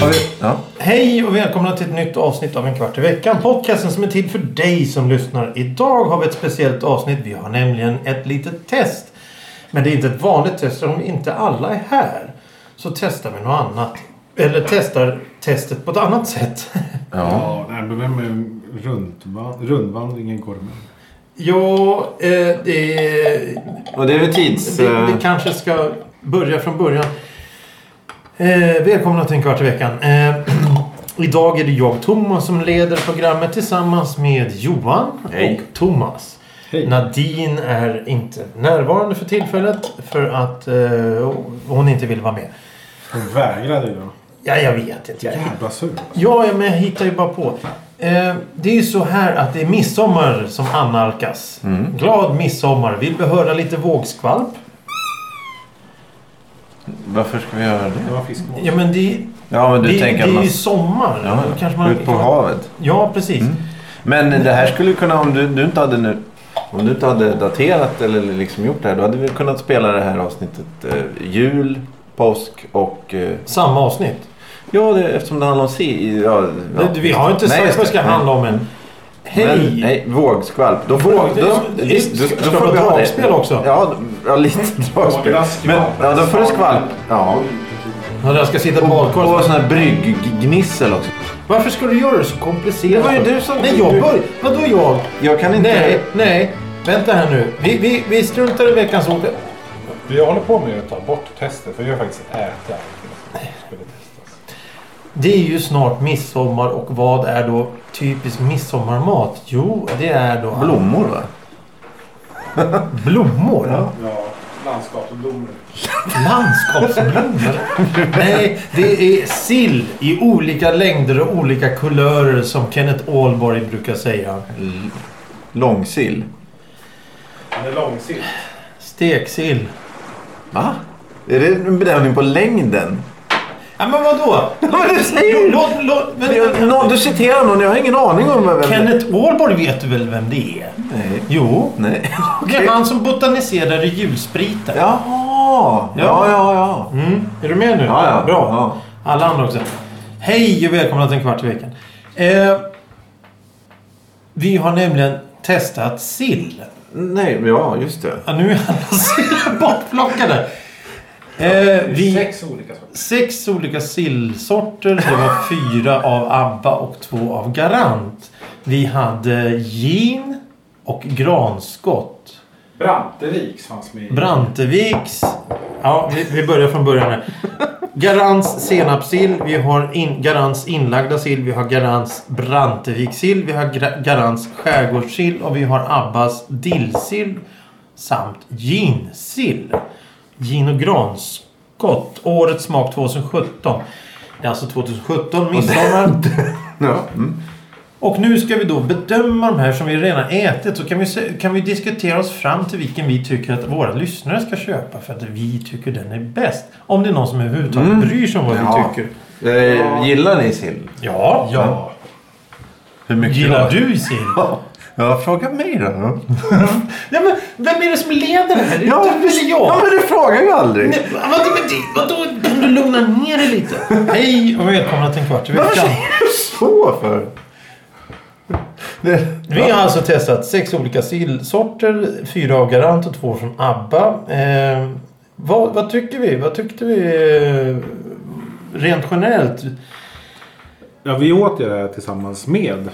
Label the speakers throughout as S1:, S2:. S1: Har vi-
S2: Ja.
S1: Hej och välkomna till ett nytt avsnitt av En kvart i veckan. Podcasten som är till för dig som lyssnar. Idag har vi ett speciellt avsnitt. Vi har nämligen ett litet test. Men det är inte ett vanligt test om inte alla är här. Så testar vi något annat. Eller testar testet på ett annat sätt.
S2: ja.
S3: Ja, nej, men vem är rundvan- rundvandringen går med?
S1: Jo, eh, det,
S4: Och det är väl tids...
S1: Vi,
S4: eh,
S1: vi kanske ska börja från början. Eh, välkomna till en kvart i veckan. Eh, idag är det jag, Thomas, som leder programmet tillsammans med Johan
S4: Hej.
S1: och Thomas.
S3: Hej.
S1: Nadine är inte närvarande för tillfället för att eh, hon inte vill vara med.
S3: Hon vägrade ju.
S1: Ja, jag vet inte. Jag är
S3: Jävla sur.
S1: Ja, men jag hittar ju bara på. Eh, det är ju så här att det är midsommar som annalkas.
S4: Mm.
S2: eh,
S1: Glad midsommar. Vill vi höra lite vågskvalp?
S2: Varför ska vi göra det?
S3: Det var fiskmål.
S1: Ja, men det,
S2: Ja, men du
S1: det,
S2: tänker
S1: det
S2: att
S1: är
S2: man...
S1: ju sommar.
S2: Ja,
S1: Då kanske man,
S2: ut på havet. Mm.
S1: Ja, precis.
S2: Men det här skulle ju kunna, om du, du inte hade nu... Om du inte hade daterat eller liksom gjort det här, då hade vi kunnat spela det här avsnittet eh, jul, påsk och... Eh,
S1: Samma avsnitt.
S2: ja, det, eftersom det handlar om si... Ja, ja.
S1: Vi har inte
S2: Nej,
S1: sagt
S2: just
S1: vad det ska
S2: Nej.
S1: handla om än. Hej!
S2: Men, nej, vågskvalp. Då får,
S1: Våg-
S2: då, då,
S1: det-
S2: visst, då,
S1: ska-
S2: då
S1: ska
S2: får
S1: det
S2: vi
S1: vara
S2: ha
S1: dragspel
S2: det.
S1: också?
S2: Ja, ja lite dragspel. Men, ja, då får det skvalp. Ja.
S1: Ja, där ska sitta på badkaret.
S2: Och sån här brygg-gnissel också.
S1: Varför ska du göra det så komplicerat?
S2: Det var ju du som-
S1: Nej, jag började. Vadå jag?
S2: Jag kan inte...
S1: Nej, nej. Vänta här nu. Vi, vi, vi struntar i veckans ord.
S3: Vi håller på med att ta bort testet för vi har faktiskt ätit allting som skulle testas.
S1: Det är ju snart midsommar och vad är då typisk midsommarmat? Jo, det är då...
S2: Blommor va?
S1: Blommor?
S3: Ja, landskapsblommor.
S1: Landskapsblommor? Nej, det är sill i olika längder och olika kulörer som Kenneth Ålborg brukar säga.
S2: L- långsill.
S3: Den är långsikt.
S1: Steksill.
S2: Va? Är det en benämning på längden?
S1: Ja, men vadå?
S2: Vad
S1: Jo, låt, låt,
S2: du?
S1: men,
S2: Nå, du citerar någon, jag har ingen aning om vem det
S1: Kenneth Ålborg vet du väl vem det är?
S2: Nej.
S1: Jo.
S2: Nej.
S1: Det är han som botaniserar i julspriten.
S2: Jaha. Ja, ja, ja.
S1: Mm. Är du med nu?
S2: Ja, ja.
S1: Bra.
S2: Ja.
S1: Alla andra också. Hej och välkomna till en kvart i veckan. Eh, vi har nämligen testat sill.
S2: Nej, ja, just det.
S1: Ja, nu är alla sillar bortplockade. Eh, vi,
S3: Sex olika sorter.
S1: sex olika sillsorter. Det var fyra av ABBA och två av Garant. Vi hade gin och granskott.
S3: Branteviks fanns med i.
S1: Branteviks. Ja, vi, vi börjar från början här. Garants senapssill. Vi har in, Garants inlagda sill. Vi har Garants Brantevikssill. Vi har gra, Garants skärgårdssill. Och vi har Abbas dillsill. Samt ginsill. Gin och granskott. Årets smak 2017. Det är alltså 2017 midsommar.
S2: Ja. Mm.
S1: Och nu ska vi då bedöma de här som vi redan ätit. Så kan vi, se- kan vi diskutera oss fram till vilken vi tycker att våra lyssnare ska köpa. För att vi tycker den är bäst. Om det är någon som överhuvudtaget bryr sig om vad
S2: Mm. Ja.
S1: vi tycker.
S2: Eh, gillar ni sill?
S1: Ja.
S3: Ja.
S2: Hur mycket
S1: Gillar
S2: då?
S1: du sill?
S2: Ja. ja, fråga mig då.
S1: Ja, men vem är det som leder det här? Det är
S2: Ja,
S1: du eller
S2: Ja,
S1: jag?
S2: men du frågar ju aldrig.
S1: Nej, Vadå, men det- vadå? Kan du lugna ner dig lite? Hej och välkomna till en kvart i
S2: Varför
S1: veckan.
S2: säger du så för? Det,
S1: Vi har alltså testat sex olika sillsorter. Fyra av Garant och två från ABBA. Eh, vad, vad tycker vi? Vad tyckte vi eh, rent generellt?
S3: ja, vi åt ju det här tillsammans med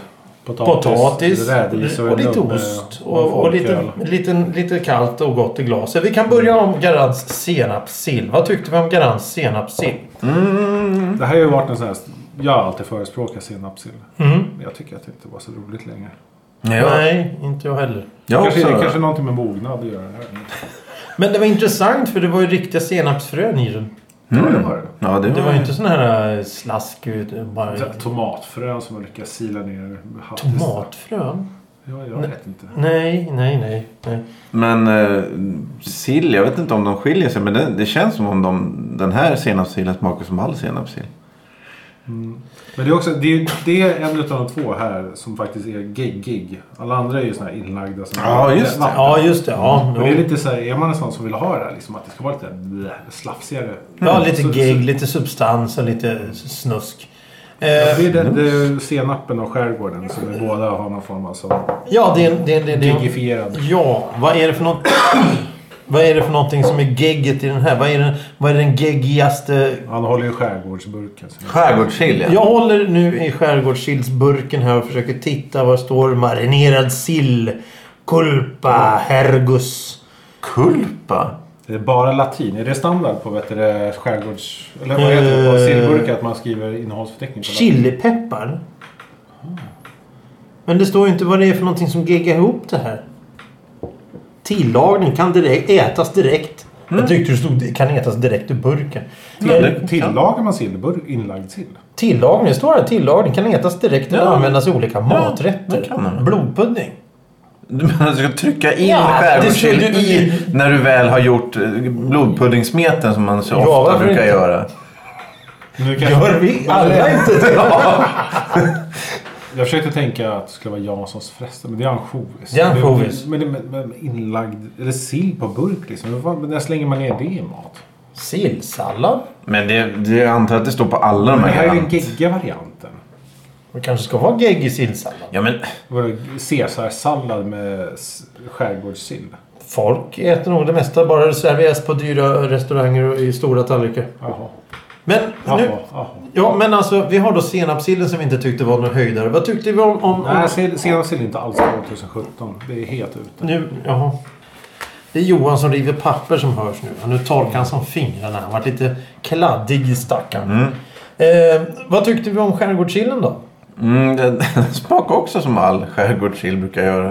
S3: potatis,
S1: Potatis
S3: rädis
S1: och, lite
S4: eh,
S3: nubbe
S1: ost. Och, och lite,
S3: folköl.
S1: lite, lite kallt och gott i glaset. Vi kan börja om Garants senapssill. Vad tyckte vi om Garants senapssill?
S3: Det här har ju varit en sån här... Jag har alltid förespråkat senapssill.
S1: Mm.
S3: Men Jag tycker att det inte var så roligt längre.
S1: Nej, inte jag heller.
S2: jag
S3: kanske,
S2: också.
S3: kanske någonting med mognad att göra. här.
S1: Mm. Men det var intressant för det var ju riktiga senapsfrön i den.
S3: Ja, det var det.
S2: Ja, det var,
S1: Det var ju inte sån här eh, slask. ut, Bara
S3: Det här Tomatfrön som man lyckas sila ner. hastigt.
S1: tomatfrön.
S4: Ja, jag vet inte.
S1: Nej, nej, nej. nej.
S2: Men eh, sill, jag vet inte om de skiljer sig. Men det, det känns som om de, den här senapssillen smakar som all senapssill.
S4: Men det är också, det är, det är en utav de två här som faktiskt är geggig. Alla andra är ju såna här inlagda. Som
S2: Ja, just det.
S1: Ja, just det. Ja,
S4: Och Mm. det är
S1: jo.
S4: lite så här, är man en sån som vill ha det här, liksom, att det ska vara lite bleh, slafsigare.
S1: ja lite
S4: Så-
S1: gegg, lite substans och lite snusk.
S4: så-
S1: Eh,
S4: Det är, den, det är senapen och skärgården som vi båda har någon form av sån
S1: ja, det är... Det, det, det,
S4: geggifierad.
S1: ja, vad är det för något... Vad är det för någonting som är gegget i den här? Vad är den, vad är den geggigaste
S4: Han håller ju skärgårdsburken. Så.
S2: Skärgårdssill ja.
S1: Jag håller nu i skärgårdssillsburken här och försöker titta. Vad står marinerad sill? Kulpa, hergus.
S2: Kulpa?
S4: Det är bara latin. Är det standard på vet du, det, skärgårds... Eller vad heter det? På
S1: Eh,
S4: sillburkar att man skriver innehållsförteckning på latin?
S1: Chilipeppar? Ah. Men det står ju inte vad det är för någonting som geggar ihop det här. Tillagning kan direkt, ätas direkt.
S2: Mm.
S1: Jag tyckte det stod det kan ätas direkt ur burken.
S4: Till- Tillagar man sillburk? Inlagd sill?
S1: Tillagning, det står det. Tillagning kan ätas direkt eller
S2: Ja.
S1: användas i olika
S2: det
S1: maträtter.
S2: kan man.
S1: Blodpudding.
S2: Du menar att du ska trycka in
S1: Ja,
S2: skärgårdssill
S1: det- det-
S2: i när du väl har gjort eh, blodpuddingsmeten som man så
S1: Ja,
S2: ofta
S1: varför
S2: brukar
S1: inte?
S2: göra?
S4: Nu kanske-
S1: Gör vi alla inte det?
S4: Jag försökte tänka att det skulle vara Janssons frestelse, men det är ansjovis.
S1: Det är ansjovis.
S4: Men, men, men inlagd... Eller sill på burk liksom. Men vad- Men när slänger man ner det i mat?
S1: Sillsallad?
S2: Men det, det, jag antar att det står på alla de
S4: Det här är
S2: här.
S4: den gegga varianten.
S1: Vi kanske ska ha gegg i sillsallad.
S2: Ja, men
S4: Vadå, Caesarsallad med s- skärgårdssill?
S1: Folk äter nog det mesta bara det serveras på dyra restauranger och i stora tallrikar.
S4: Jaha.
S1: Men nu...
S4: Jaha. Jaha.
S1: Ja, men alltså vi har då senapssillen som vi inte tyckte var någon höjdare. Vad tyckte vi om... om, om
S4: Nej, sill- senapssill är inte alls 2017. Det är helt ute.
S1: nu, jaha. Det är Johan som river papper som hörs nu. Och nu torkar han som fingrarna. Han varit lite kladdig i stackaren. Eh, vad tyckte vi om skärgårdssillen då?
S2: mm, den, den smakar också som all skärgårdssill brukar göra.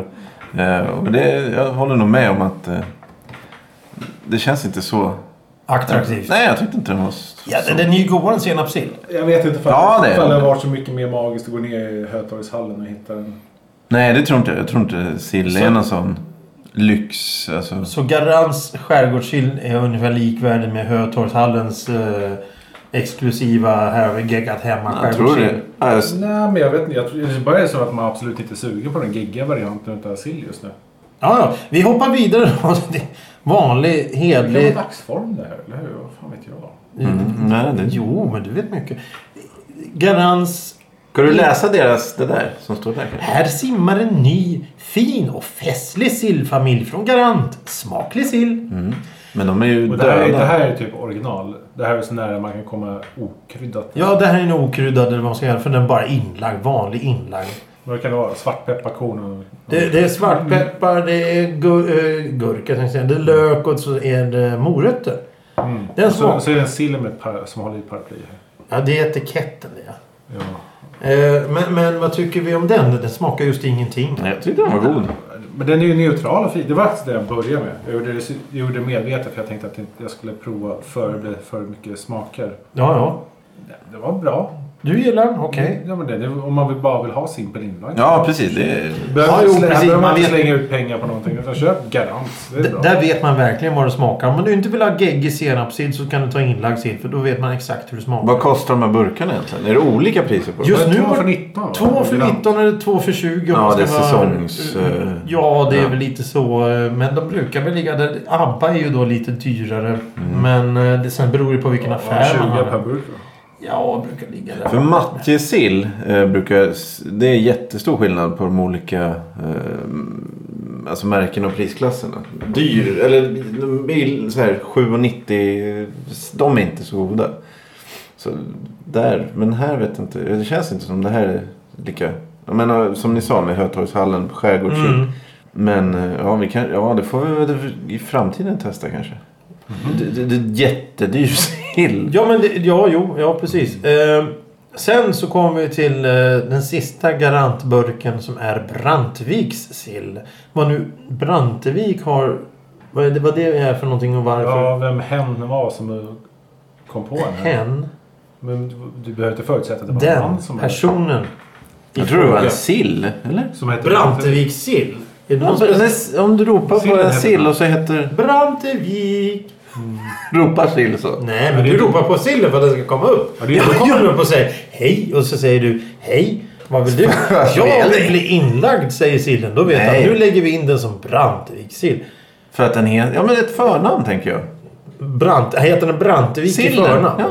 S2: Eh, och det, jag håller nog med om att eh, det känns inte så...
S1: Attraktivt.
S2: Nej, jag tyckte inte den var... s-
S1: Ja, den- den är ju godare än senapssill.
S4: Jag vet inte ifall
S2: Ja, det är
S4: ifall
S2: det.
S4: det har varit så mycket mer magiskt att gå ner i Hötorgshallen och hitta en...
S2: Nej, det tror inte jag. Jag tror inte sill är
S1: Så-
S2: någon sån lyx. Alltså.
S1: Så Garants skärgårdssill är ungefär likvärdig med Hötorgshallens eh, exklusiva här geggat hemma
S2: Jag tror det.
S1: skärgårdssill?
S2: Ja, jag s-
S4: Nej, men jag vet inte. Jag tror, det bara är så att man absolut inte är sugen på den gegga varianten utav sill just nu.
S1: Ja, ja. Vi hoppar vidare då. Det är Vanlig,
S4: Det kan
S1: hedlig...
S4: vara dagsform det här, eller hur? Vad fan vet jag?
S2: Mm, nej, det...
S1: Jo, men du vet mycket. Garants...
S2: Ska du läsa deras, det där som står där? kanske?
S1: Här simmar en ny, fin och festlig sillfamilj från Garant. Smaklig sill.
S2: Mm. Men de är ju
S4: Och det, här, är-
S2: döda.
S4: det här är typ original. Det här är så nära man kan komma okryddat.
S1: Ja, det här är en okryddad eller vad man ska göra för den är bara inlagd. Vanlig inlagd.
S4: Vad kan det vara? Svartpepparkorn och...
S1: Det,
S2: Mm.
S1: det är svartpeppar, det är gur eh, gurka tänkte jag säga. Det är lök och så är det morötter.
S4: Mm.
S1: Den
S4: Och så,
S1: smak-
S4: så är det en sill med par, som håller i ett paraply här.
S1: Ja, det är etiketten det.
S4: Ja.
S1: Eh, men, men vad tycker vi om den? Den smakar just ingenting.
S2: Nej, jag tyckte den var god.
S4: Men den är ju neutral och fin. Det var faktiskt det jag började med. Jag gjorde det, jag gjorde det medvetet för jag tänkte att inte jag skulle prova för det blev för mycket smaker.
S1: Ja, ja.
S4: Det- Det var bra.
S1: Du gillar den? Okej.
S4: Ja, men det, det, om man vill, bara vill ha simpel inlagd.
S2: Ja, precis. Det är...
S4: Behöver,
S1: Ja, jo,
S4: slä-
S1: precis.
S4: behöver man
S1: Man
S4: inte
S1: vet-
S4: slänga ut pengar på någonting utan köp Garant. Det är
S1: D-
S4: bra.
S1: Där vet man verkligen vad det smakar. Om du inte vill ha geggig senapssill så kan du ta inlagd sill för då vet man exakt hur det smakar.
S2: Vad kostar de här burkarna egentligen? Är det olika priser på dem?
S1: Just
S4: Men
S1: nu
S4: två
S1: var-
S4: för 19. va?
S1: Två för
S4: Garant.
S1: 19 eller två för 20. om
S2: Ja,
S1: man ska
S2: det är
S1: vara-
S2: säsongs, eh,
S1: Ja, det är
S2: ja.
S1: väl lite så. eh, Men de brukar väl ligga där. Abba är ju då lite dyrare.
S2: Mm.
S1: Men eh, det, sen beror det på vilken
S4: Ja,
S1: affär man
S4: 20 per
S1: har.
S4: burk. va?
S1: Ja, brukar ligga där.
S2: För matjessill eh, brukar... s- Det är jättestor skillnad på de olika eh, alltså märken och prisklasserna. Dyr, eller bil, så här 7,90. De är inte så goda. Så där, men här vet jag inte. Det känns inte som det här är lika... Jag menar, som ni sa med Hötorgshallen, skärgårdssill.
S1: Mm.
S2: Men eh, ja, vi kan, ja, det får vi väl i framtiden testa kanske. Det, det, det är jättedyr sill.
S1: Ja, men det, ja, jo, ja precis. Eh, sen så kommer vi till eh, den sista garantburken som är Brantviks sill. Vad nu Brantevik har... Vad är det, vad det är för någonting och varför?
S4: Ja, vem hen var som du kom på den här.
S1: Hen,
S4: Men du, du behöver inte förutsätta att det var
S1: den
S4: han som...
S1: personen
S2: Jag tror det var en sill, eller?
S4: Som heter
S1: Brantevik sill. Är det
S2: Ja,
S1: någon
S2: men
S1: speciell?
S2: det- Om du ropar
S4: Sillen
S2: på en
S4: heter
S2: sill
S4: den.
S2: och så heter...
S1: Brantevik.
S2: Ropar sill så.
S1: Nej, men du ropar på sillen för att den ska komma upp.
S4: Ja,
S1: Ja,
S4: det är-
S1: då kommer den upp och säger hej och så säger du hej. Vad vill du?
S2: Vad
S1: Jag
S2: vill
S1: vill bli inlagd, säger sillen. Då vet
S2: Nej.
S1: han. Nu lägger vi in den som Brantevik-sill.
S2: För att den heter... Ja, men ett förnamn tänker jag.
S1: Brant, heter den Brantevik i
S2: Sillen,
S1: förnamn?
S2: ja.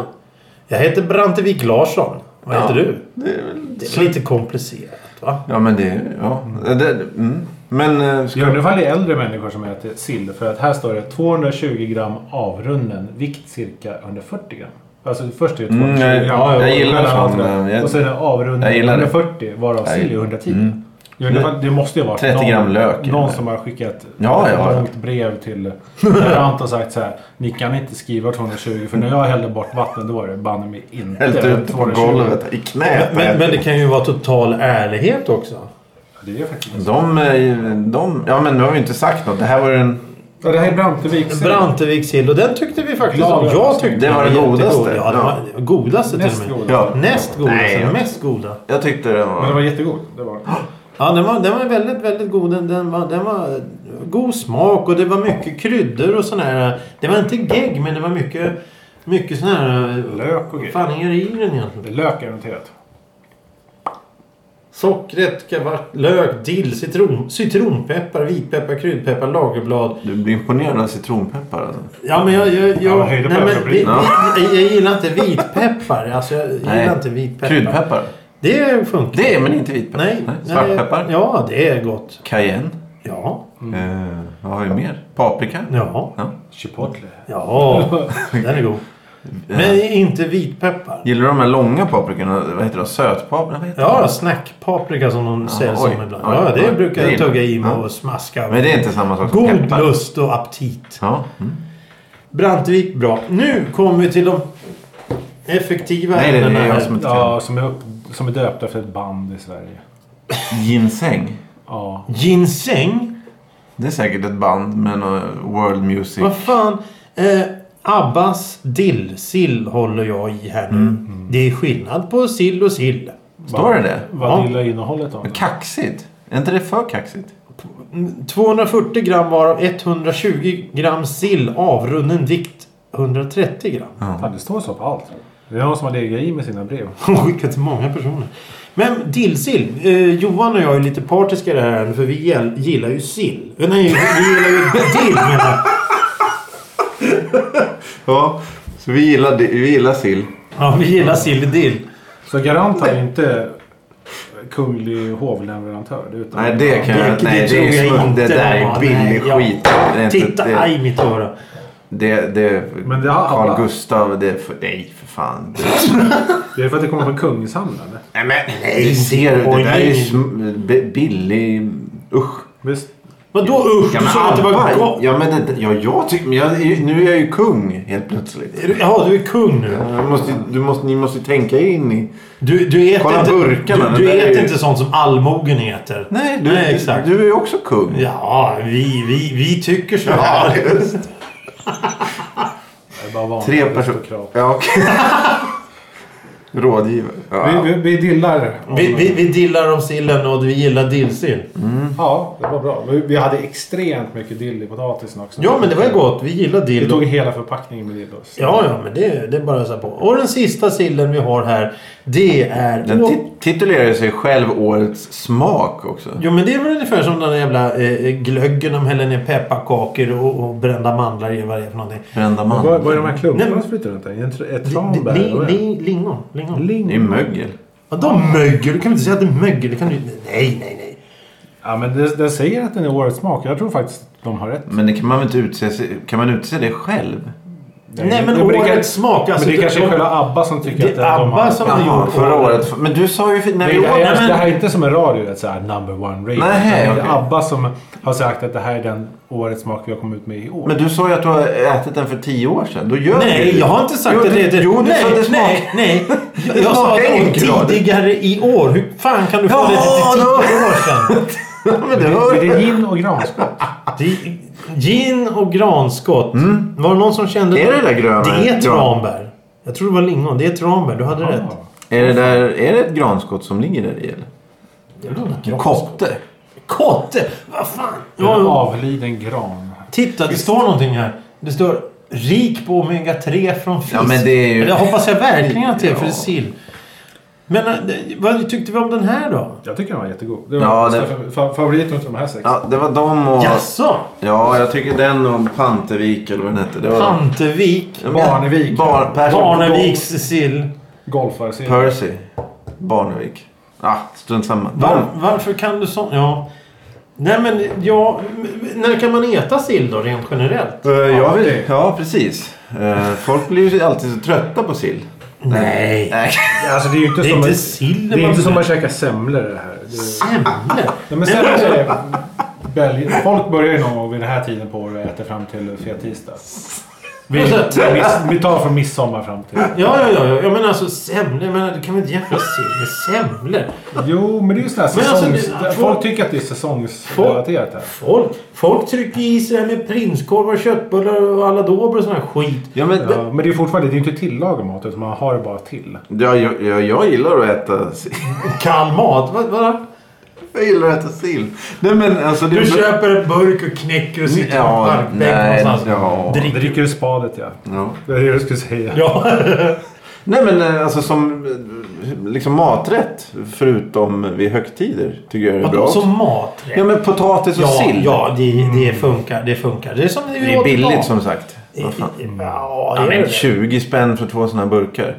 S1: Jag heter Brantevik Larsson. Vad
S2: Ja.
S1: heter du?
S2: Det är väl...
S1: Det är lite komplicerat, va?
S2: Ja, men det... Ja. Det, mm. Men... eh,
S4: I alla
S2: Ska...
S4: fall det är äldre människor som äter sill. För att här står det 220 gram avrunden. Vikt cirka 140 gram. Alltså först är det 220
S2: Mm, jag-
S4: gram.
S2: ja, jag
S4: och
S2: gillar
S4: mellan
S2: fan,
S4: allt det där.
S2: men jag-
S4: och sen är det avrunden
S2: jag gillar det.
S4: 140 varav
S2: Jag-
S4: sill är 110.
S2: Mm.
S4: I alla fall, det måste ju vara
S2: 30
S4: någon,
S2: gram lök.
S4: någon som har skickat
S2: Ja,
S4: ett
S2: ja.
S4: långt brev till Brant och sagt så här. Ni kan inte skriva 220 för när jag hällde bort vattnet då var det banne mig inte
S2: Hällt ut på
S4: 220.
S2: golvet. I knät.
S1: Men, men det kan ju vara total ärlighet också.
S4: Ja, Det är faktiskt
S2: De, eh, de... Ja, men nu har vi inte sagt något. Det här var ju en...
S4: Ja, det här är Brantevik.
S1: Brantevikssill och den tyckte vi faktiskt
S4: Ja,
S1: om.
S4: det var-
S1: Jag tyckte
S2: det var
S1: den
S2: det godaste.
S1: jättegod. Ja, den var den godaste
S4: Näst
S1: till och med.
S4: godaste.
S2: Ja.
S1: Näst godaste.
S2: Nej, ja.
S1: Mest goda.
S2: Jag tyckte det
S4: Men den
S2: var...
S4: var jättegod. Det var den.
S1: Ja, den var, den var väldigt, väldigt god. Den, den, var, den var god smak och det var mycket kryddor och sån här. Det var inte gegg, men det var mycket, mycket sån här...
S4: Lök och
S1: Vad
S4: grejer.
S1: fan är det i den egentligen?
S4: Det är lök garanterat.
S1: Sockret, kavart, lök, dill, citron, citronpeppar, vitpeppar, kryddpeppar, lagerblad.
S2: Du blir imponerad av citronpeppar alltså.
S1: Ja, men jag... jag, jag,
S4: Ja, höjde på
S1: men
S4: ögonbrynen.
S1: vi- jag, jag gillar inte vitpeppar. Alltså, jag gillar
S2: Nej.
S1: inte vitpeppar.
S2: Kryddpeppar.
S1: Det funkar.
S2: Det är men inte vitpeppar.
S1: Nej. nej,
S2: Svartpeppar.
S1: Ja, det är gott.
S2: Cayenne.
S1: Ja.
S2: Eh, vad har vi mer? Paprika.
S1: Ja.
S2: Ja.
S4: Chipotle.
S1: Ja. Den är god. Men inte vitpeppar.
S2: Gillar du de här långa paprikorna? Vad heter de? Sötpaprika? Vad heter
S1: Ja,
S2: de?
S1: snackpaprika som de säljs
S2: oj.
S1: som ibland.
S2: Oj,
S1: Ja, det
S2: oj.
S1: brukar
S2: Det
S1: jag
S2: gillar
S1: tugga i mig
S2: jag.
S1: och smaska.
S2: Men det är inte samma sak som
S1: God
S2: peppar.
S1: lust och aptit.
S2: Ja. Mm.
S1: Brantevik, bra. Nu kommer vi till de effektiva
S2: Nej, det är
S1: ämnena
S2: jag
S1: här.
S2: som inte kan.
S4: Ja, som är, upp, som är döpt efter ett band i Sverige.
S2: Ginseng.
S4: Ja.
S1: Ginseng.
S2: Det är säkert ett band med någon world music.
S1: Vad fan. Eh, Abbas dillsill håller jag i här nu.
S2: Mm.
S1: Det är skillnad på sill och sill.
S2: Står det det?
S4: Vad gillar innehållet då?
S2: Men kaxigt. Är inte det för kaxigt?
S1: 240 gram varav 120 gram sill avrunden vikt 130 gram.
S4: Fan, det står så på allt. Det är någon som har legat i med sina brev.
S1: Och skickat till många personer. Men dillsill. Eh, Johan och jag är lite partiska i det här för vi gäll- gillar ju sill. Eh, Nej, vi gillar ju dill menar jag.
S2: Ja. Så vi gillar, vi gillar sill.
S1: Ja, vi gillar sill i dill.
S4: Så Garant är ju inte kunglig hovleverantör. Utan
S2: Nej, det kan jag...
S1: Det-
S2: nej,
S1: det
S2: det,
S1: tror
S2: är
S1: jag
S2: smult. Det
S1: inte
S2: där
S1: det
S2: är
S1: var.
S2: billig
S1: Nej, ja.
S2: skit. Det är inte-
S1: Titta,
S2: det-
S1: aj mitt öra.
S2: Det, det,
S4: Men det har
S2: Carl
S4: alla.
S2: Gustav, det är för, nej för fan. Det,
S4: Det är för att det kommer från Kungshamn eller?
S2: nej men nej, ser du, det där är ju sm- b- billig, usch.
S4: Visst?
S1: Vadå usch? Du sa att det var
S2: Abba,
S1: gott.
S2: ja men det, ja, jag tycker, men jag, är ju- nu är jag ju kung helt plötsligt.
S1: Är du- Ja, du är kung nu.
S2: Jag måste, du måste, ni måste tänka in i...
S1: Du, du äter,
S2: Kolla
S1: inte,
S2: burkarna,
S1: du,
S2: det
S1: du
S2: där är
S1: äter
S2: ju-
S1: inte sånt som allmogen äter.
S2: Nej, du,
S1: Nej, exakt.
S2: du är ju också kung.
S1: Ja, vi, vi, vi tycker så
S2: Ja,
S1: här.
S2: just.
S4: Det är bara vanliga
S2: Tre personer.
S4: aristokrat.
S2: Ja, okej. Rådgivare. Ja.
S4: Vi, vi, vi dillar. om-
S1: Vi, vi, vi dillar om sillen och vi gillar dillsill.
S4: Ja, det var bra. Vi, vi hade extremt mycket dill i potatisen också.
S1: Ja, men det var ju gott. Vi gillar
S4: Vi
S1: dill.
S4: tog
S1: Och-
S4: hela förpackningen med dill. också.
S1: Ja, ja, men det, det är bara att ösa på. Och den sista sillen vi har här, det är...
S2: Den
S1: Åh,
S2: ti- titulerar ju sig själv årets smak också.
S1: Jo men det är väl ungefär som den där jävla eh, glöggen de häller ner pepparkakor och, och brända mandlar i vad det är för någonting.
S2: Varenda man.
S4: Vad, vad är de här
S1: Nej,
S4: klumparna
S1: men-
S4: som flyter runt där? Är det Ett
S1: Li,
S4: tranbär?
S1: li,
S4: eller vad är det? Ah.
S1: li, lingon. lingon.
S2: Det är
S4: Ling.
S2: mögel.
S1: Vadå mögel? Du kan väl inte säga att det är mögel? Det kan du... Nej, nej, nej.
S4: Ja, men det- den säger att den är årets smak. Jag tror faktiskt att de har rätt.
S2: Men det kan man väl inte utse sig, Kan man utse det själv?
S1: Nej, men
S4: det- det-
S1: årets smak.
S4: Men
S1: Alltså,
S4: det kanske är
S1: de-
S4: själva ABBA som tycker
S1: Det
S4: att
S1: är
S4: de
S1: ABBA
S4: har...
S1: som har
S2: Jaha,
S1: gjort
S2: förra året. Men du sa ju... När
S4: Nej,
S2: vi
S4: det, här,
S1: nej, men-
S4: det här är inte som en radio, det är så här, number one radio.
S2: Nej,
S4: Utan det
S2: okej.
S4: är ABBA som har sagt att det här är den årets smak vi har kommit ut med i år.
S2: Men du sa ju att du har ätit den för tio år sedan. Då gör du
S1: Nej,
S2: det.
S1: jag har inte sagt
S2: jo,
S1: att det är det.
S2: Jo, du
S1: nej,
S2: sa det smakar...
S1: nej, nej. Jag,
S2: Det
S1: sa
S2: smakar
S1: det
S2: enkel radio.
S1: tidigare i år. Hur fan kan du få
S2: Jaha,
S1: det till
S2: då.
S1: tio år sedan?
S2: men det
S4: Är
S2: hör...
S4: det gin och granskott?
S1: Det- Gin och granskott. Var det någon som kände...
S2: Mm. Är det där gröna?
S1: Det
S2: Gran-
S1: är tranbär. Jag tror det var lingon. Det är tranbär. Du hade rätt.
S2: Är det där... Är det ett granskott som ligger där i eller? Kotte.
S1: Kotte! Vad fan!
S4: En
S1: Ja, ja.
S4: avliden gran.
S1: Titta, det står någonting här. Det står rik på omega 3 från fisk.
S2: Ja, men det är ju-
S1: Jag hoppas jag verkligen att det är för det är
S2: Ja.
S1: sill. Men eh, det- vad tyckte vi om den här då?
S4: Jag tycker den var jättegod. Det var
S2: Ja,
S4: ja,
S2: det-
S4: favoriten utav de här sex.
S2: Ja, det var dem och...
S1: Jaså?
S2: Ja, jag tycker den och Pantevik eller vad den hette. Det var...
S1: Pantevik?
S2: Ja, men-
S4: Barnevik.
S2: Bar... Persson.
S1: Barneviks sill?
S4: Golfarserie.
S2: Percy. Barnevik. Ah, strunt samma.
S1: Var,
S2: De-
S1: varför kan du sånt? Ja. Nej men, ja. m- När kan man äta sill då rent generellt?
S2: Eh, jag vill...
S4: det.
S2: Ja, precis. Eh, folk blir ju alltid så trötta på sill.
S1: Nej.
S2: Nej.
S4: Alltså, det är ju inte
S1: Det är
S4: som
S1: inte
S4: att-
S1: sill
S4: Det är inte som
S1: man...
S4: att käka semlor det här. Det är...
S1: Semlor?
S4: Nej, men semlor är... Belgien. Folk börjar ju någon gång vid den här tiden på året äta fram till fettisdag. Vi,
S1: Alltså,
S4: miss- vi tar från midsommar fram till...
S1: Ja, ja, ja. ja. Jag menar alltså semlor. Jag menar, du kan väl inte jämföra sill med semlor?
S4: Jo, men det är ju sådana här
S1: Men alltså,
S4: säsongs...
S1: det-
S4: folk tycker att det är säsongsrelaterat här.
S1: Folk, folk trycker i sig det här med prinskorvar, köttbullar och aladåber och sån här skit.
S2: Ja, men...
S4: Ja, men det är fortfarande det är ju inte tillagad mat utan man har det bara till.
S2: Ja, jag, jag, jag gillar att äta sill.
S1: Kall mat. Vad, vad?
S2: Jag gillar att äta sill. Nej, men alltså... Det...
S1: Du köper en burk och knäcker och sitter på
S2: Ja,
S1: en parkbänk
S2: nej,
S1: någonstans.
S2: ja.
S1: Dricker.
S4: Dricker ur spadet ja.
S2: Ja.
S4: Det är det jag skulle säga.
S1: Ja.
S2: Nej men eh, alltså som eh, liksom maträtt förutom vid högtider tycker jag är bra.
S1: Vadå, som maträtt?
S2: Ja men potatis och
S1: Ja,
S2: sill. Mm.
S1: ja det, det funkar. Det funkar. Det är som
S2: Det är billigt som sagt.
S1: I-
S2: Vad fan. Mm.
S1: i- Ja,
S2: Ja,
S1: det är
S2: men
S1: det.
S2: 20 spänn för två sådana här burkar.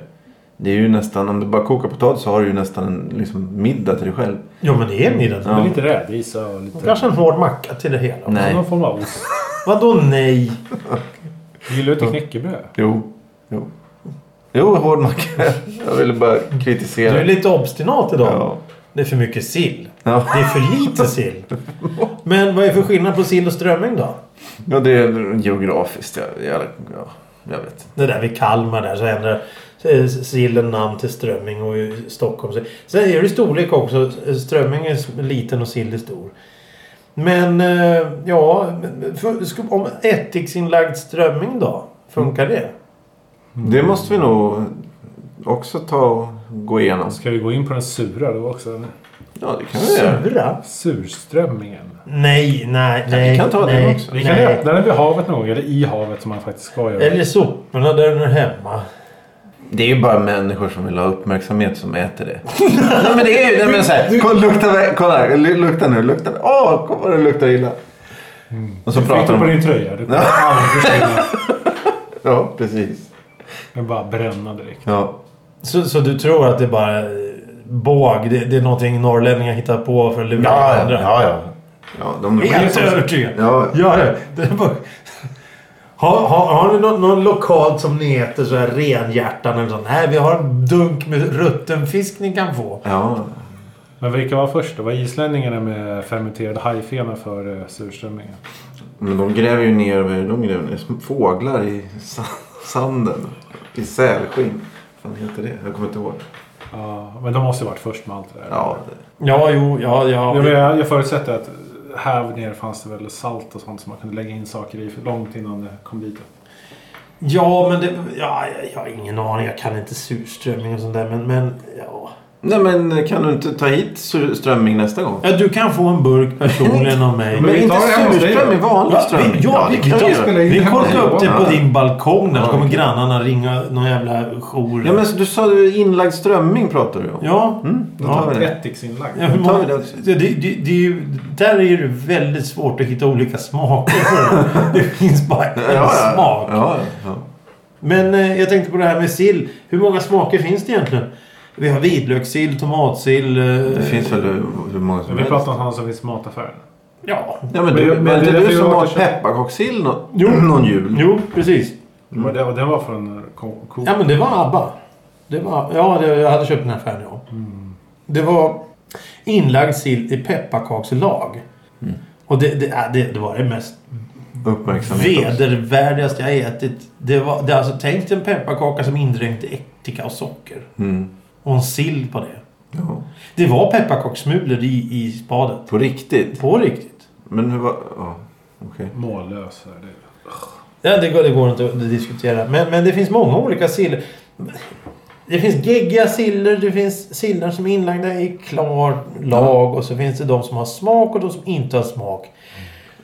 S2: Det är ju nästan, om du bara kokar potatis så har du ju nästan en liksom, middag till dig själv.
S1: Jo, men det är middag.
S4: Med lite rädis och lite...
S1: Kanske en hård macka till det hela.
S2: Nej.
S4: Någon form av ost.
S1: Vadå nej?
S4: Gillar du inte knäckebröd?
S2: Jo. Jo, jo hård macka. Jag ville bara kritisera.
S1: Du är lite obstinat idag.
S2: Ja.
S1: Det är för mycket sill.
S2: Ja.
S1: Det är för lite sill. Men vad är för skillnad på sill och strömming då?
S2: ja, det är geografiskt. Jag, jag, ja, jag vet.
S1: Det där vid Kalmar där så ändrar eh, sillen namn till strömming och i Stockholm. så- Sen är det storlek också. Strömming är s- liten och sill är stor. Men eh, ja, men för, sku- om ättiksinlagd strömming då? Funkar det?
S2: Mm,
S1: Mm.
S2: Det måste vi nog också ta och gå igenom.
S4: Ska vi gå in på den sura då också? eller?
S2: Ja, det kan vi göra.
S1: Sura?
S4: Surströmmingen.
S1: Nej, nej, nej.
S2: vi kan ta det
S1: nej,
S2: också.
S4: Vi kan
S1: nej.
S4: öppna den vid havet någon gång, eller i havet som man faktiskt ska göra.
S1: Eller soporna där den är hemma.
S2: Det är ju bara människor som vill ha uppmärksamhet som äter det. nej men det är ju... Nej, men så här, kolla, lukta, vä- kolla här, lu- lukta nu. Lukta. Åh, kolla vad det luktar illa. Och så
S4: Mm. du fick
S2: pratar
S4: den på
S2: de...
S4: din tröja. Du kommer aldrig försvinna.
S2: Ja, precis.
S4: Den bara bränna direkt.
S2: Ja.
S1: Så, så du tror att det är bara eh, båg? Det, det är någonting norrlänningar hittar på för att lura
S2: Ja,
S1: andra?
S2: ja. ja. ja de
S1: Helt övertygad.
S2: Ja.
S1: Ja, ja. Det är bara... har, har, har ni någon, någon lokalt som ni äter så här renhjärtan eller sånt? Nej, vi har en dunk med rutten fisk ni kan få.
S2: Ja.
S4: Men vilka var först då? Var islänningarna med fermenterad hajfena för uh, surströmmingen?
S2: Men de gräver ju ner... vad är det De gräver ner små fåglar i sa- sanden. I sälskinn. Vad fan heter det? Jag kommer inte ihåg.
S4: Ja, men de måste ju varit först med allt det där.
S2: Ja, det...
S1: Ja, jo, ja,
S4: Ja,
S1: ja.
S4: men jag, jag förutsätter att här nere fanns det väl salt och sånt som man kunde lägga in saker i för långt innan det kom dit.
S1: Ja, men det... Ja, jag, jag har ingen aning. Jag kan inte surströmming och sånt där, men... men ja.
S2: Nej men kan du inte ta hit sur- strömming nästa gång?
S1: ja, du kan få en burk personligen av mig.
S2: Men,
S4: vi
S2: inte
S4: tar det hemma hos dig då.
S2: surströmming, vanlig
S1: Ja,
S2: strömming.
S1: vi, ja, vi,
S2: kan vi
S1: vi,
S2: göra.
S4: spela in
S1: vi
S4: hemma
S1: kollar
S4: hemma.
S1: upp det på
S2: Ja.
S1: din balkong där. Så
S2: Ja,
S1: kommer
S2: okej.
S1: grannarna ringa någon jävla jour.
S2: Ja men så du sa ju inlagd strömming pratar du om.
S1: Ja.
S2: Mm, då
S1: Ja,
S2: tar vi det.
S4: Ättiksinlagd.
S1: Ja, hur
S2: Då tar
S1: många,
S2: vi det
S1: det,
S2: också.
S1: det, det är ju, där är det väldigt svårt att hitta olika smaker. det finns bara en smak.
S2: Ja, ja.
S1: Men eh, jag tänkte på det här med sill. Hur många smaker finns det egentligen? Vi har vitlökssill, tomatsill. eh,
S2: Det finns väl hur, hur många som
S4: Vi
S2: helst.
S4: pratar om sådana som finns i mataffären.
S1: Ja.
S2: Ja, men
S4: Men-
S2: du,
S4: men
S2: var
S4: det
S2: inte
S4: är därför
S2: du som
S4: jag
S2: har
S4: återkänner-
S2: pepparkakssill nå-
S1: Jo.
S2: någon jul?
S1: Jo, precis.
S2: Mm.
S4: Och det- Och den var från eh, ko- ko-
S1: Ja, men det var ABBA. Det var, ja, det, jag hade köpt den här affären, ja.
S4: Mm.
S1: Det var inlagd sill i pepparkakslag.
S2: Mm.
S1: Och det, det, äh, det, det var det mest
S2: Uppmärksamhet också.
S1: Vedervärdigaste jag ätit. Det var, det är alltså tänk dig en pepparkaka som indränkt i ättika och socker.
S2: Mm.
S1: Och en sill på det.
S2: Ja.
S1: Det var pepparkakssmulor i, i spadet.
S2: På riktigt?
S1: På riktigt.
S2: Men hur var... Ja, okej.
S4: mållös. är det.
S1: Ja, det, går, det går inte att diskutera. Men, men det finns många olika sill. Det finns geggiga siller, det finns sillar som är inlagda i klar lag och så finns det de som har smak och de som inte har smak.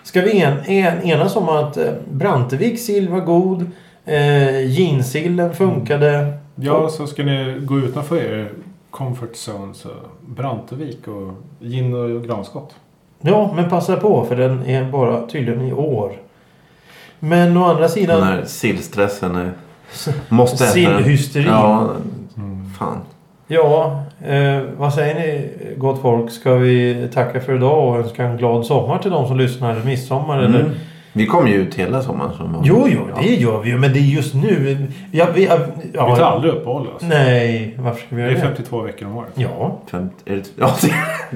S1: Ska vi en, en, enas om att eh, Brantevik sill var god, eh, ginsillen funkade.
S4: Ja, så ska ni gå utanför er comfort zone så Brantevik och gin och granskott.
S1: Ja, men passa på för den är bara tydligen i år. Men å andra
S2: Den
S1: sidan...
S2: här sillstressen är... Måste äta den.
S1: Sillhysterin.
S2: Ja.
S4: Mm.
S2: Fan.
S1: Ja, eh, vad säger ni gott folk? Ska vi tacka för idag och önska en glad sommar till de som lyssnar? Midsommar eller?
S2: Mm. Vi kommer ju ut hela sommaren som vanligt.
S1: Jo, jo, det gör vi ju. Men det är just nu. Ja, vi, ja, ja,
S4: Vi tar aldrig uppehåll oss.
S1: Nej, varför ska vi
S4: Det
S1: göra
S4: är
S1: det?
S4: 52 veckor om året.
S1: Ja,
S2: Femt, är det, ja, det,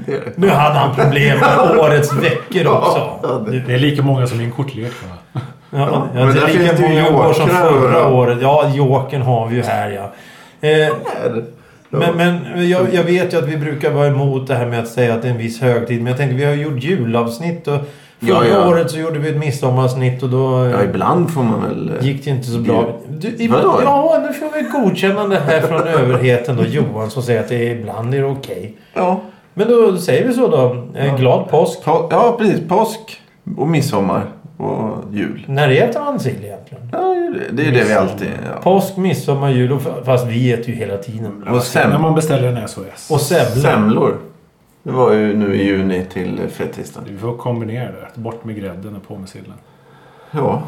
S2: det är det.
S1: nu hade han problem med årets veckor också.
S2: Ja, det-
S1: Du-
S4: Det är lika många som min kortlek. va?
S1: Ja,
S2: men
S1: det
S2: där
S1: är lika
S2: finns det ju
S1: många år som
S2: jokrar
S1: förra
S2: överallt.
S1: året. Ja, jokern har vi ju här ja. Eh, Men, men jag,
S2: Mm.
S1: jag vet ju att vi brukar vara emot det här med att säga att det är en viss högtid. Men jag tänkte vi har ju gjort julavsnitt och förra
S2: Ja, ja.
S1: året så gjorde vi ett midsommaravsnitt och då eh,
S2: ja, ibland får man väl... eh,
S1: gick det inte så bra. Du, i,
S2: Vadå?
S1: ja, nu får vi ett godkännande här från överheten då. Johan som säger att det är, ibland är det okej.
S2: Ja,
S1: Men då säger vi så då. Eh, glad påsk.
S2: pa, ja, precis. Påsk och midsommar och jul.
S1: När äter man sill egentligen?
S2: Ja, det är det- det är det vi alltid... Ja.
S1: Påsk, midsommar, jul och fast vi äter ju hela tiden.
S2: Och
S4: När
S2: sem,
S4: man beställer en SOS.
S1: Och semla.
S2: semlor. Det var ju nu i juni till eh, fredagstisdagen.
S4: Du får kombinera det. Bort med grädden och på med sillen.
S2: Ja,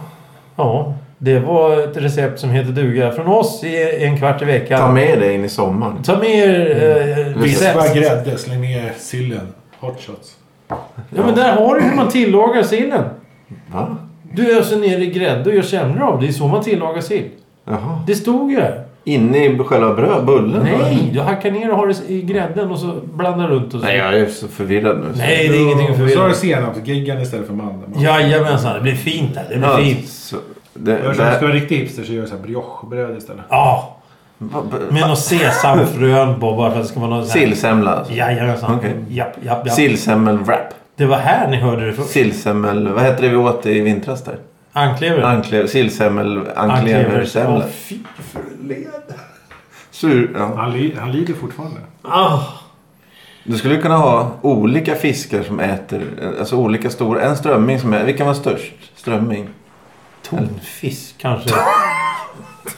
S1: Ja, det var ett recept som heter duga från oss i en kvart i veckan.
S2: ta med det in i sommaren.
S1: Ta med er
S2: Mm.
S1: eh,
S4: Vispa
S1: recept.
S4: grädde, släng ner sillen. Hot shots.
S1: Ja, men där har du hur man tillagar sillen.
S2: Va?
S1: Du öser ner i grädde och gör semlor av. Det är så man tillagar sill.
S2: Jaha.
S1: Det stod ju där.
S2: Inne i själva bröd, bullen?
S1: Nej, du hackar ner och har det i grädden och så blandar runt och så.
S2: Nej, jag är så förvirrad nu.
S1: Nej, det är ingenting att
S4: Så har
S1: förvirra.
S4: du senapsgeggan istället för mandeln.
S1: Jajamensan, det blir fint där. Det blir
S2: Ja,
S1: fint.
S2: så- det,
S4: Gör
S2: det,
S4: så att du ska vara riktig hipster så gör du så här briochebröd istället.
S1: Ja,
S2: va, va,
S1: med något sesamfrön på bara för att det ska vara något... så här-
S2: sillsemla alltså.
S1: Jajamensan.
S2: Okej.
S1: Japp, japp, japp.
S2: Sillsemmel-wrap.
S1: Det var här ni hörde det först.
S2: Sillsemmel... Vad hette det vi åt i vintras där?
S1: Anklever.
S2: Ankle, sillsemmel...
S1: Åh,
S2: Ankleversemla.
S1: fy.
S2: Sur... Ja.
S4: Han, li- han lider fortfarande.
S1: Ah.
S2: Du skulle kunna ha olika fiskar som äter... Alltså olika stora... En strömming som är... Vilken var störst? Strömming.
S1: Tonfisk kanske.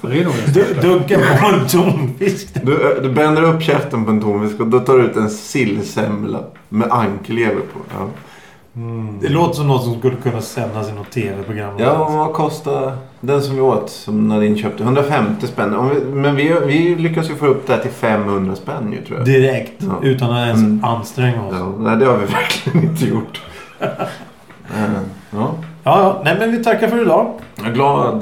S4: Det är nog den
S1: Du-
S4: största.
S1: Dunka på en tonfisk.
S2: Du, du bänder upp käften på en tonfisk och då tar du ut en sillsemla med anklever på. Ja,
S1: Det låter som något som skulle kunna sändas i något tv-program.
S2: ja och vad kostar den som vi åt som Nadine köpte? 150 spänn. Om vi, men vi, vi lyckas ju få upp det här till 500 spänn ju tror jag.
S1: Direkt.
S2: Ja.
S1: Utan att ens
S2: Mm.
S1: anstränga oss. Ja.
S2: Ja, nej, det har vi verkligen inte gjort. Eh, ja.
S1: ja, nej men vi tackar för idag.
S2: Jag är glad. eh,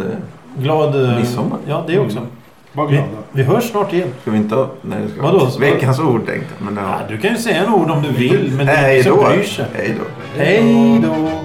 S1: Glad... eh,
S2: Midsommar. Mm.
S1: Ja, det också.
S4: Mm. Var
S1: Vi,
S4: glada.
S1: vi hörs snart igen.
S2: Ska vi inte ha... Nej, det ska vi
S1: Vadå?
S2: inte. Veckans ord tänkte jag. Men det
S1: Ja,
S2: har...
S1: du kan ju säga en ord om du vill, men det är
S2: Hej
S1: ingen som
S2: då.
S1: bryr sig.
S2: Hej då.
S1: Hej då!